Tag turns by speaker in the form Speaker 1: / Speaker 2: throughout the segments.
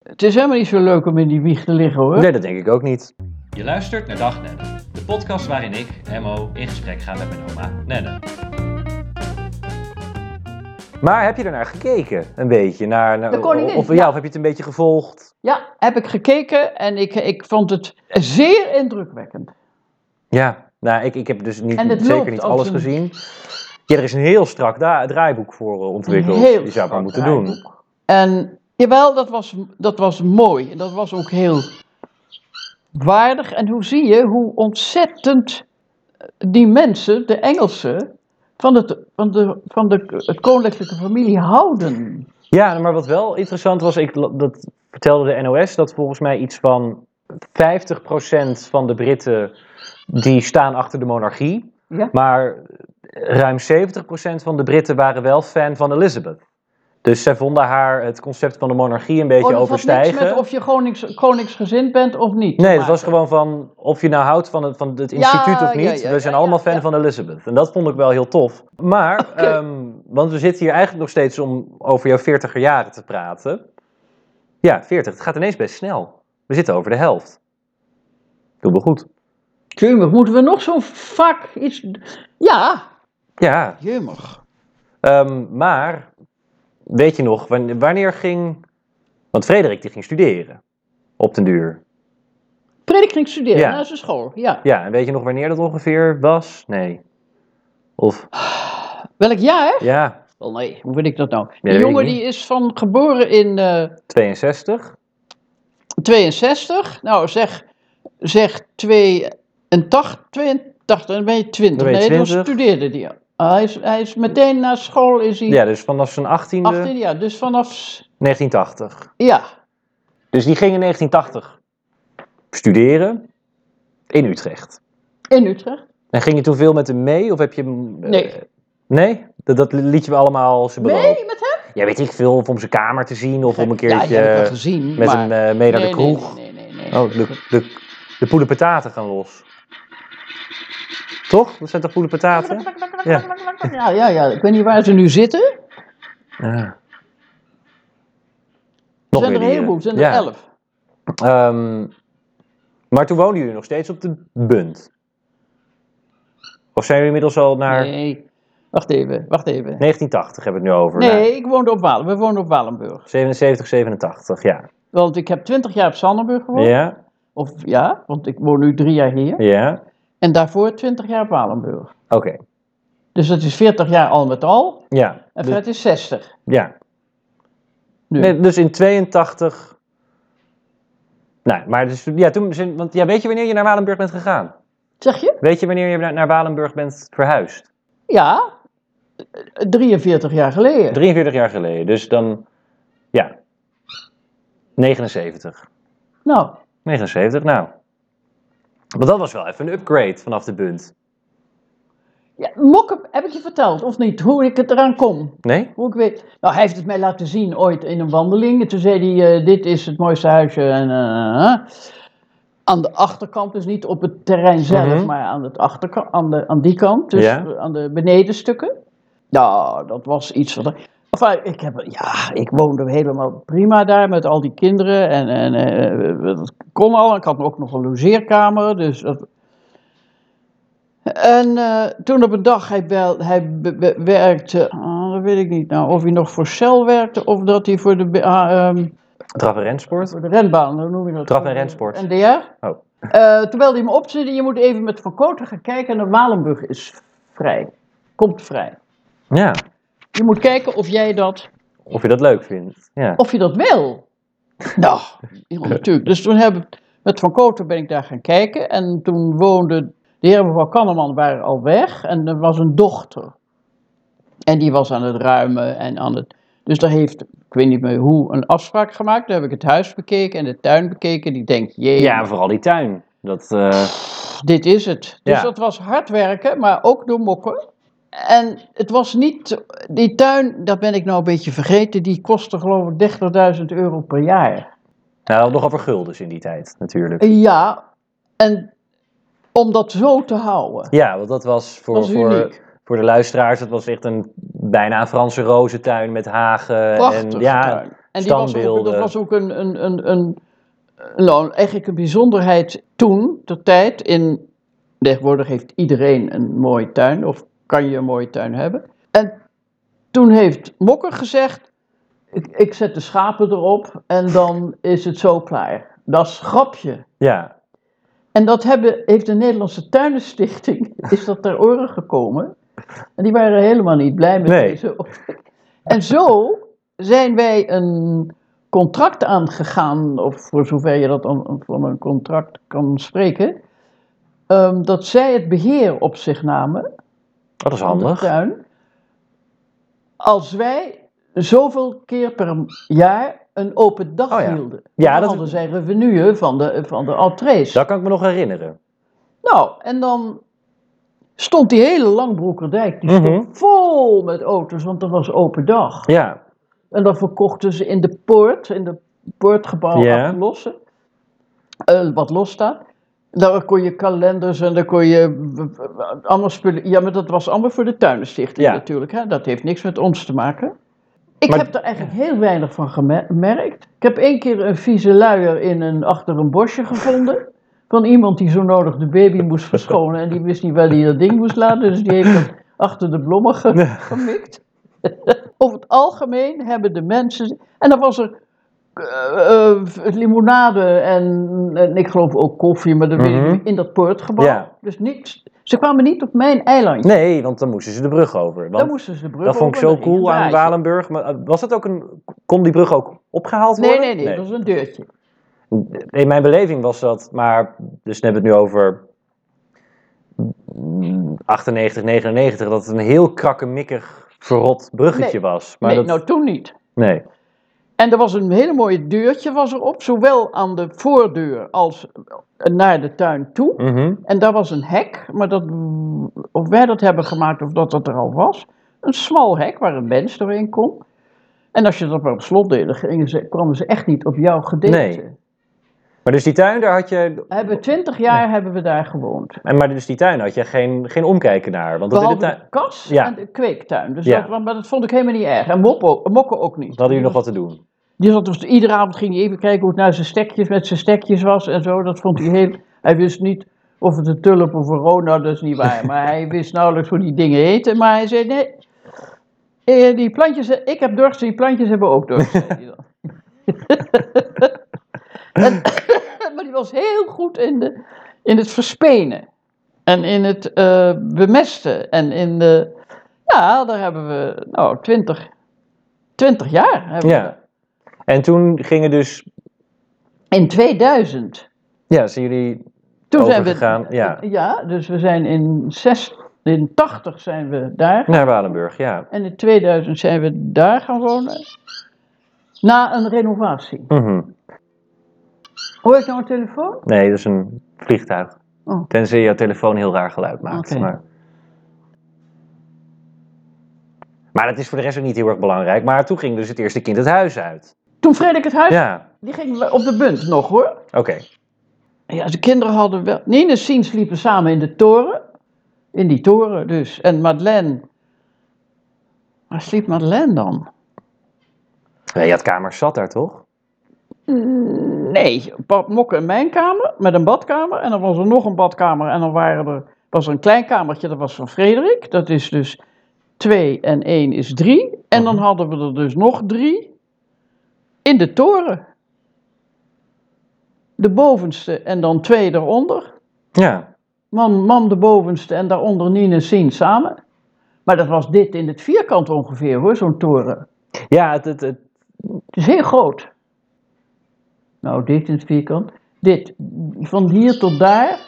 Speaker 1: Het is helemaal niet zo leuk om in die wieg te liggen hoor.
Speaker 2: Nee, dat denk ik ook niet.
Speaker 3: Je luistert naar Dag Nenne, de podcast waarin ik, Emmo, in gesprek ga met mijn oma Nenne.
Speaker 2: Maar heb je ernaar gekeken? Een beetje? Naar, naar-
Speaker 1: De koningin,
Speaker 2: Of,
Speaker 1: ja.
Speaker 2: ja, of heb je het een beetje gevolgd?
Speaker 1: Ja, heb ik gekeken en ik, ik vond het zeer indrukwekkend.
Speaker 2: Ja. Nou, ik, ik heb dus niet,
Speaker 1: En het loopt
Speaker 2: zeker niet
Speaker 1: als
Speaker 2: alles
Speaker 1: een-
Speaker 2: gezien. Ja, er is een heel strak da- draaiboek voor eh, ontwikkeld.
Speaker 1: Een heel
Speaker 2: je zou het maar
Speaker 1: strak
Speaker 2: moeten doen.
Speaker 1: draaiboek. En jawel, dat was, dat was mooi. En dat was ook heel waardig. En hoe zie je hoe ontzettend eh, die mensen, de Engelsen, van, het, van, de, van de, het koninklijke familie houden.
Speaker 2: Ja, maar wat wel interessant was, ik, la- dat vertelde de NOS, dat volgens mij iets van 50% van de Britten die staan achter de monarchie.
Speaker 1: Ja.
Speaker 2: Maar ruim 70% van de Britten waren wel fan van Elizabeth. Dus zij vonden haar het concept van de monarchie een beetje
Speaker 1: Oh, dat had niks
Speaker 2: overstijgen.
Speaker 1: met of je konings, koningsgezind bent of niet.
Speaker 2: Nee,
Speaker 1: Maar-
Speaker 2: dat was gewoon van of je nou houdt van het, van het
Speaker 1: Ja,
Speaker 2: instituut of niet.
Speaker 1: ja, ja,
Speaker 2: we zijn
Speaker 1: ja,
Speaker 2: allemaal
Speaker 1: ja,
Speaker 2: fan
Speaker 1: ja.
Speaker 2: van Elizabeth. En dat vond ik wel heel tof. Maar, ehm, want we zitten hier eigenlijk nog steeds om over jouw 40er jaren te praten. Ja, 40. Het gaat ineens best snel. We zitten over de helft. Doe me goed.
Speaker 1: Jumig, moeten we nog zo'n vak iets... Ja,
Speaker 2: Ja,
Speaker 1: jumig.
Speaker 2: ehm, maar weet je nog, wan- wanneer ging... Want Frederik die ging studeren. Op den duur.
Speaker 1: Predik ging studeren
Speaker 2: Ja.
Speaker 1: na zijn school, ja.
Speaker 2: Ja, en weet je nog wanneer dat ongeveer was? Nee. Of,
Speaker 1: Welk jaar?
Speaker 2: ja,
Speaker 1: Wel nee, hoe weet ik dat nou?
Speaker 2: weet
Speaker 1: die
Speaker 2: ik
Speaker 1: jongen
Speaker 2: niet.
Speaker 1: die is van geboren in eh
Speaker 2: 62.
Speaker 1: 62. Nou, zeg, zeg 82, 82, dan ben je 20.
Speaker 2: Dan ben je
Speaker 1: nee, toen
Speaker 2: 20.
Speaker 1: studeerde die al. Ah, hij. Is, hij is meteen na school, is hij
Speaker 2: Ja, dus vanaf zijn 18e,
Speaker 1: 18 jaar. Dus vanaf... s-
Speaker 2: 1980.
Speaker 1: Ja,
Speaker 2: Dus die ging in 1980 studeren in Utrecht.
Speaker 1: in Utrecht.
Speaker 2: En ging je toen veel met hem mee? Of heb je hem, eh,
Speaker 1: Nee.
Speaker 2: nee? Dat, dat liet je wel allemaal zijn beloop?
Speaker 1: Nee, met hem?
Speaker 2: Ja, weet ik veel. Of om zijn kamer te zien. Of om een
Speaker 1: Ja,
Speaker 2: keertje
Speaker 1: die heb ik wel gezien,
Speaker 2: met
Speaker 1: maar...
Speaker 2: hem eh, mee naar
Speaker 1: nee,
Speaker 2: de kroeg.
Speaker 1: Nee, nee, nee. nee,
Speaker 2: Oh, de, de, de poelen pataten gaan los. Toch? Dat zijn toch poelen pataten? Ja.
Speaker 1: Ja, ja, ja. Ik weet niet waar ze nu zitten.
Speaker 2: Ja.
Speaker 1: Er
Speaker 2: Nog
Speaker 1: zijn er een
Speaker 2: weer die,
Speaker 1: heleboel, er zijn
Speaker 2: eh, ja.
Speaker 1: er elf.
Speaker 2: Ehm, maar toen woonden jullie nog steeds op de Bund. Of zijn jullie inmiddels al naar
Speaker 1: Nee, wacht even, wacht even.
Speaker 2: 1980 hebben we het nu over?
Speaker 1: Nee,
Speaker 2: Nou,
Speaker 1: ik woonde op Walen. We woonden op Walenburg.
Speaker 2: 77, 87, ja.
Speaker 1: Want ik heb twintig jaar op Sandenburg gewoond.
Speaker 2: Ja,
Speaker 1: Of ja, want ik woon nu drie jaar hier.
Speaker 2: ja.
Speaker 1: En daarvoor twintig jaar op Walenburg.
Speaker 2: Oké,
Speaker 1: Dus dat is veertig jaar al met al.
Speaker 2: ja.
Speaker 1: En
Speaker 2: Dus,
Speaker 1: Fred is zestig.
Speaker 2: ja.
Speaker 1: Nu.
Speaker 2: Nee, dus in 82... Nou, maar dus, ja, toen, zijn- want, ja, weet je wanneer je naar Walenburg bent gegaan?
Speaker 1: Zeg je?
Speaker 2: Weet je wanneer je naar, naar Walenburg bent verhuisd?
Speaker 1: Ja, eh, 43 jaar geleden.
Speaker 2: 43 jaar geleden, dus dan... Ja. 79.
Speaker 1: Nou,
Speaker 2: 79, nou. Maar dat was wel even een upgrade vanaf de Bund.
Speaker 1: ja, Mokken heb ik je verteld, of niet? Hoe ik het eraan kom.
Speaker 2: Nee?
Speaker 1: Hoe ik weet. Nou, hij heeft het mij laten zien ooit in een wandeling. En toen zei hij: eh, Dit is het mooiste huisje. En, eh, eh. aan de achterkant, dus niet op het terrein zelf,
Speaker 2: Mhm.
Speaker 1: maar aan, het achterkant, aan, de, aan die kant. Dus
Speaker 2: Ja.
Speaker 1: eh, aan de benedenstukken. Nou, dat was iets van. Enfin, ik heb, ja, ik woonde helemaal prima daar met al die kinderen. En, en eh, dat kon al. Ik had ook nog een logeerkamer. Dus dat, en eh, toen op een dag, hij, bel, hij be- be- werkte, ah, dat weet ik niet nou, of hij nog voor Shell werkte of dat hij voor de, be- ah, ehm,
Speaker 2: Trap en rensport?
Speaker 1: voor de renbaan, hoe noem je dat?
Speaker 2: Trap- en rensport.
Speaker 1: NDR.
Speaker 2: Oh.
Speaker 1: Eh, toen belde hij me op, zei hij, je moet even met Van Koten gaan kijken en de Walenburg is vrij, komt vrij.
Speaker 2: Ja.
Speaker 1: Je moet kijken of jij dat,
Speaker 2: Of je dat leuk vindt. Ja.
Speaker 1: of je dat wil. nou, ja, natuurlijk. Dus toen heb ik, met Van Koten ben ik daar gaan kijken en toen woonde, de heer en mevrouw Kanneman waren al weg en er was een dochter. En die was aan het ruimen en aan het. Dus daar heeft, ik weet niet meer hoe, een afspraak gemaakt. Daar heb ik het huis bekeken en de tuin bekeken. Die denkt, jee,
Speaker 2: ja, en vooral die tuin. Dat, eh,
Speaker 1: dit is het. Dus
Speaker 2: Ja.
Speaker 1: dat was hard werken, maar ook door mokken. En het was niet, die tuin, dat ben ik nou een beetje vergeten, die kostte geloof ik 30.000 euro per jaar.
Speaker 2: nou, nog over guldens in die tijd natuurlijk.
Speaker 1: Ja, en om dat zo te houden,
Speaker 2: Ja, want dat was voor,
Speaker 1: dat was
Speaker 2: voor,
Speaker 1: uniek.
Speaker 2: voor de luisteraars, dat was echt een bijna een Franse rozentuin met hagen.
Speaker 1: Prachtig.
Speaker 2: en, ja,
Speaker 1: tuin. En die was ook, dat
Speaker 2: Standbeelden.
Speaker 1: was ook een, een, een, een, een- nou, eigenlijk een bijzonderheid toen, ter tijd. In, tegenwoordig heeft iedereen een mooie tuin, of kan je een mooie tuin hebben. En toen heeft Mokker gezegd, ik, ik zet de schapen erop en dan is het zo klaar. Dat is grapje.
Speaker 2: Ja,
Speaker 1: En dat hebben, heeft de Nederlandse Tuinenstichting, is dat ter oren gekomen. En die waren helemaal niet blij met
Speaker 2: Nee.
Speaker 1: deze opmerking. En zo zijn wij een contract aangegaan, of voor zover je dat dan van een contract kan spreken, ehm, dat zij het beheer op zich namen
Speaker 2: dat is
Speaker 1: van de
Speaker 2: handig.
Speaker 1: tuin. Als wij zoveel keer per jaar een open dag
Speaker 2: Oh ja.
Speaker 1: hielden.
Speaker 2: Ja,
Speaker 1: dan
Speaker 2: dat-
Speaker 1: hadden zij revenue van de, van de entrees.
Speaker 2: Dat kan ik me nog herinneren.
Speaker 1: Nou, en dan stond die hele Langbroekerdijk die stond
Speaker 2: Mhm.
Speaker 1: vol met auto's, want dat was open dag.
Speaker 2: Ja,
Speaker 1: En dan verkochten ze in de poort, in de poortgebouw
Speaker 2: Ja.
Speaker 1: aan lossen, eh, wat los staat. Daar kon je kalenders en daar kon je eh, eh, allemaal spullen. Ja, maar dat was allemaal voor de tuinenstichting
Speaker 2: Ja.
Speaker 1: natuurlijk. Hè? Dat heeft niks met ons te maken. Ik
Speaker 2: Maar-
Speaker 1: heb er eigenlijk heel weinig van gemerkt. Ik heb één keer een vieze luier in een, achter een bosje gevonden. Van iemand die zo nodig de baby moest verschonen. En die wist niet waar hij dat ding moest laten. Dus die heeft dat achter de blommen ge- gemikt. Over het algemeen hebben de mensen. En dan was er eh, eh, limonade en, en ik geloof ook koffie, maar dat weet ik
Speaker 2: Mhm.
Speaker 1: niet, in dat poortgebouw.
Speaker 2: Ja.
Speaker 1: Dus niks. Ze kwamen niet op mijn eilandje.
Speaker 2: nee, want dan moesten ze de brug over. Want
Speaker 1: dan moesten ze de brug
Speaker 2: dat vond ik
Speaker 1: over en
Speaker 2: zo
Speaker 1: dan ging
Speaker 2: cool
Speaker 1: een
Speaker 2: aan
Speaker 1: draaitje.
Speaker 2: Walenburg. Maar eh, was dat ook een, kon die brug ook opgehaald
Speaker 1: Nee,
Speaker 2: worden?
Speaker 1: nee, nee, dat was een deurtje.
Speaker 2: In mijn beleving was dat, maar dus dan hebben we het nu over mm, 98, 99, dat het een heel krakkemikkig verrot bruggetje
Speaker 1: Nee.
Speaker 2: was. Maar
Speaker 1: nee,
Speaker 2: dat,
Speaker 1: nou toen niet.
Speaker 2: nee.
Speaker 1: En er was een hele mooie deurtje was erop, zowel aan de voordeur als naar de tuin toe.
Speaker 2: Mhm.
Speaker 1: En daar was een hek, maar dat, of wij dat hebben gemaakt of dat dat er al was. Een smal hek waar een mens doorheen kon. En als je dat maar op slot deed, dan gingen ze, kwamen ze echt niet op jouw gedeelte.
Speaker 2: Nee. Maar dus die tuin, daar had je,
Speaker 1: We hebben twintig jaar hebben we daar gewoond.
Speaker 2: en maar dus die tuin had je geen, geen omkijken naar. Want dat in
Speaker 1: Behalve
Speaker 2: de
Speaker 1: de,
Speaker 2: tuin,
Speaker 1: kas
Speaker 2: Ja.
Speaker 1: en de kweektuin. Dus
Speaker 2: Ja.
Speaker 1: dat, maar dat vond ik helemaal niet erg. En Moppo, Mokken ook niet.
Speaker 2: dat hadden jullie nog wat te doen.
Speaker 1: Die zat dus, iedere avond ging hij even kijken hoe het nou zijn stekjes met zijn stekjes was en zo. Dat vond hij heel. Hij wist niet of het een tulp of een rood, nou dat is niet waar. Maar hij wist nauwelijks hoe die dingen heten. Maar hij zei: nee, eh, die plantjes, eh, ik heb dorst, die plantjes hebben ook dorst. zei hij dan. En- maar die was heel goed in, de, in het verspenen. En in het eh, bemesten. En in de. Ja, daar hebben we, nou, twintig, twintig jaar. Hebben we
Speaker 2: Ja. En toen gingen dus,
Speaker 1: in 2000.
Speaker 2: ja, zijn jullie
Speaker 1: Toen zijn we.
Speaker 2: overgegaan ja,
Speaker 1: Ja, dus we zijn in, zes, in 80 zijn we daar.
Speaker 2: naar Walenburg. Ja.
Speaker 1: En in 2000 zijn we daar gaan wonen. Na een renovatie.
Speaker 2: Mhm.
Speaker 1: Hoor ik nou een telefoon?
Speaker 2: Nee, dat is een vliegtuig.
Speaker 1: Oh.
Speaker 2: Tenzij jouw telefoon heel raar geluid maakt.
Speaker 1: Oké.
Speaker 2: Maar... maar dat is voor de rest ook niet heel erg belangrijk. Maar toen ging dus het eerste kind het huis uit.
Speaker 1: Toen Frederik het huis.
Speaker 2: Ja,
Speaker 1: Die ging op de bunt nog hoor.
Speaker 2: oké.
Speaker 1: Ja, de kinderen hadden wel. Nien en Sien sliepen samen in de toren. In die toren dus. En Madeleine. Waar sliep Madeleine dan?
Speaker 2: Ja, je had kamers zat daar toch?
Speaker 1: Nee, Pap Mokke in mijn kamer met een badkamer. En dan was er nog een badkamer. En dan waren er, was er een klein kamertje, dat was van Frederik. Dat is dus 2 en 1 is 3. En dan
Speaker 2: Mhm.
Speaker 1: hadden we er dus nog drie in de toren. De bovenste en dan twee eronder.
Speaker 2: Ja.
Speaker 1: Mam, mam de bovenste en daaronder Nien en Sien samen. Maar dat was dit in het vierkant ongeveer hoor, zo'n toren.
Speaker 2: Ja, het, het, het,
Speaker 1: Het is heel groot. Nou, dit in het vierkant. Dit. Van hier tot daar.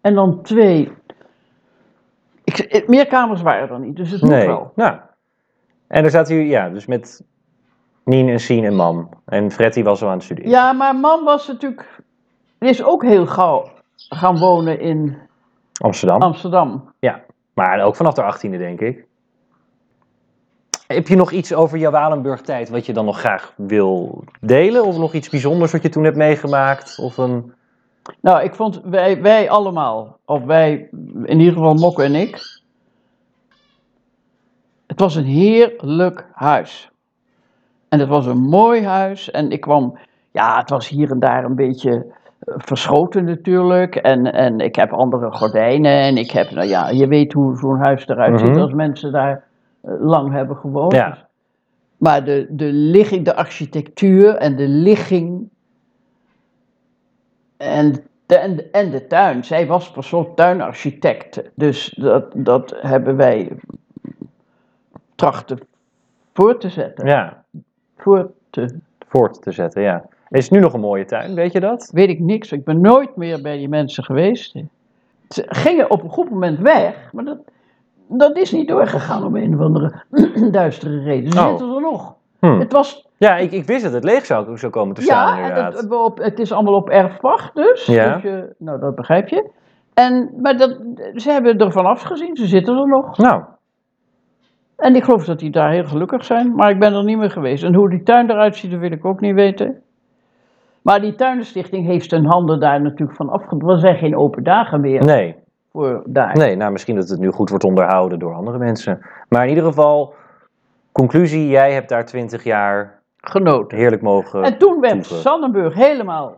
Speaker 1: En dan twee. Ik, eh, meer kamers waren er niet, dus het moet
Speaker 2: nee.
Speaker 1: wel.
Speaker 2: Nou. En daar zaten jullie, ja, dus met Nien en Sien en mam. En Freddy was al aan het studeren.
Speaker 1: Ja, maar mam was natuurlijk. is ook heel gauw gaan wonen in
Speaker 2: Amsterdam.
Speaker 1: Amsterdam.
Speaker 2: Maar ook vanaf de 18e, denk ik. Heb je nog iets over jouw Walenburg-tijd wat je dan nog graag wil delen? Of nog iets bijzonders wat je toen hebt meegemaakt? Of een...
Speaker 1: Nou, ik vond wij, wij allemaal, of wij, in ieder geval Mokke en ik. Het was een heerlijk huis. En het was een mooi huis. En ik kwam, ja, het was hier en daar een beetje eh, verschoten natuurlijk. En, en ik heb andere gordijnen. En ik heb, nou ja, je weet hoe zo'n huis eruit ziet
Speaker 2: Mhm.
Speaker 1: als mensen daar eh, lang hebben gewoond.
Speaker 2: Ja.
Speaker 1: Maar de, de ligging, de architectuur en de ligging. En de, en, de- en de tuin. Zij was per slot tuinarchitect. Dus dat, dat hebben wij trachten voor te zetten.
Speaker 2: ja,
Speaker 1: Voor te,
Speaker 2: voort te zetten, ja. Er is nu nog een mooie tuin, weet je dat?
Speaker 1: weet ik niks. Ik ben nooit meer bij die mensen geweest. Ze gingen op een goed moment weg. Maar dat, dat is niet doorgegaan om een of andere duistere reden. Ze
Speaker 2: Oh.
Speaker 1: zitten er nog.
Speaker 2: Hm.
Speaker 1: Het was
Speaker 2: Ja, ik, ik wist dat het leeg zou, zou komen te staan,
Speaker 1: Ja, en
Speaker 2: inderdaad.
Speaker 1: het, we op, het is allemaal op erfwacht dus.
Speaker 2: Ja.
Speaker 1: Dus je- nou, dat begrijp je. En, maar dat, ze hebben er vanaf gezien, ze zitten er nog.
Speaker 2: Nou,
Speaker 1: En ik geloof dat die daar heel gelukkig zijn, maar ik ben er niet meer geweest. En hoe die tuin eruit ziet, dat wil ik ook niet weten. Maar die tuinstichting heeft hun handen daar natuurlijk van afgedwongen. Er zijn geen open dagen meer
Speaker 2: nee.
Speaker 1: voor daar.
Speaker 2: Nee, nou misschien dat het nu goed wordt onderhouden door andere mensen. Maar in ieder geval, conclusie, jij hebt daar twintig jaar
Speaker 1: Genoten.
Speaker 2: heerlijk mogen...
Speaker 1: En toen werd
Speaker 2: toeven.
Speaker 1: Sandenburg helemaal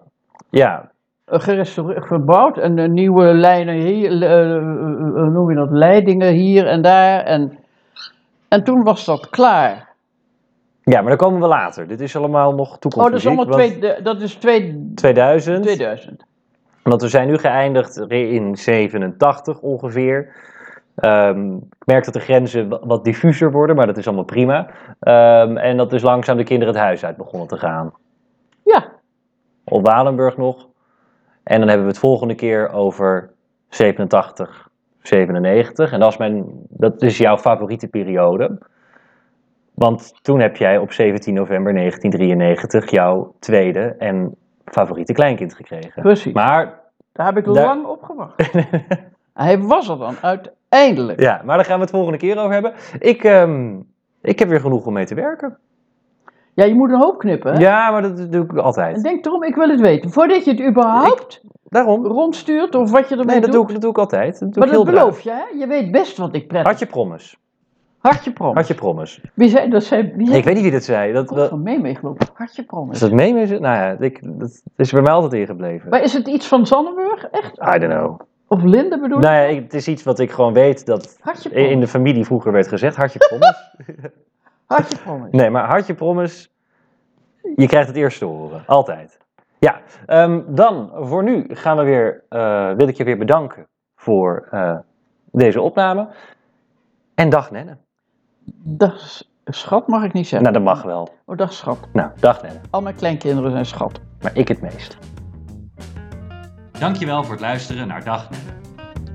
Speaker 2: Ja,
Speaker 1: eh, gerestaureerd, verbouwd en eh, nieuwe lijnen hier, eh, eh, hoe noem je dat, leidingen hier en daar. En, en toen was dat klaar.
Speaker 2: ja, maar daar komen we later. Dit is allemaal nog
Speaker 1: Oh, dat
Speaker 2: toekomstmuziek.
Speaker 1: is allemaal
Speaker 2: want
Speaker 1: twee, de- dat is twee,
Speaker 2: 2000,
Speaker 1: 2000.
Speaker 2: want we zijn nu geëindigd in 87 ongeveer. Ehm, ik merk dat de grenzen wa- wat diffuser worden, maar dat is allemaal prima. Ehm, en dat dus langzaam de kinderen het huis uit begonnen te gaan.
Speaker 1: Ja,
Speaker 2: Op Walenburg nog. En dan hebben we het volgende keer over 87, 97. En dat is, mijn, dat is jouw favoriete periode. Want toen heb jij op 17 november 1993 jouw tweede en favoriete kleinkind gekregen.
Speaker 1: precies.
Speaker 2: Maar,
Speaker 1: Daar heb ik
Speaker 2: daar-
Speaker 1: lang op gewacht. Hij was er dan, uiteindelijk.
Speaker 2: ja, maar daar gaan we het volgende keer over hebben. Ik, ehm, ik heb weer genoeg om mee te werken.
Speaker 1: Ja, je moet een hoop knippen, hè?
Speaker 2: Ja, maar dat doe ik
Speaker 1: En
Speaker 2: altijd.
Speaker 1: denk erom, ik wil het weten. Voordat je het überhaupt
Speaker 2: Daarom.
Speaker 1: rondstuurt of wat je ermee
Speaker 2: Nee, dat
Speaker 1: doet.
Speaker 2: doe ik, dat doe ik altijd. Dat doe
Speaker 1: maar
Speaker 2: ik
Speaker 1: dat
Speaker 2: heel braaf.
Speaker 1: beloof je, hè? Je weet best wat ik prettig.
Speaker 2: Had je promise.
Speaker 1: Hartje prom.
Speaker 2: Had je promise.
Speaker 1: Wie zei dat? Zei, wie
Speaker 2: Ik
Speaker 1: heeft
Speaker 2: weet niet wie dat zei. Dat,
Speaker 1: dat
Speaker 2: dat,
Speaker 1: van mee meegelopen? Hartje prom.
Speaker 2: is dat meme? Is het? Nou ja, ik, dat is bij mij altijd ingebleven.
Speaker 1: Maar is het iets van Zandenburg? Echt?
Speaker 2: I don't know.
Speaker 1: Of Linde bedoel je?
Speaker 2: Nou ja, ik- het is iets wat ik gewoon weet dat
Speaker 1: Hartje
Speaker 2: in in
Speaker 1: promis.
Speaker 2: de familie vroeger werd gezegd. Hartje promise.
Speaker 1: Hartje promis.
Speaker 2: Nee, maar hartje promise. Je krijgt het eerst te horen. Altijd. Ja, ehm, dan voor nu gaan we weer, eh, wil ik je weer bedanken voor eh, deze opname. En dag Nenne.
Speaker 1: Dag s- schat mag ik niet zeggen.
Speaker 2: Nou, dat mag wel.
Speaker 1: Oh, dag schat.
Speaker 2: Nou, dag Nenne.
Speaker 1: Al mijn kleinkinderen zijn schat.
Speaker 2: Maar ik het meest.
Speaker 3: Dankjewel voor het luisteren naar Dag Nenne.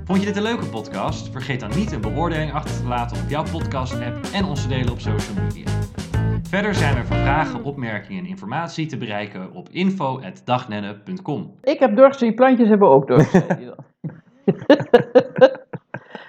Speaker 3: Vond je dit een leuke podcast? Vergeet dan niet een beoordeling achter te laten op jouw podcast-app en ons te delen op social media. Verder zijn we voor vragen, opmerkingen en informatie te bereiken op info.dagnenne.com.
Speaker 1: Ik heb dorst, die plantjes hebben ook dorst. zei hij dan.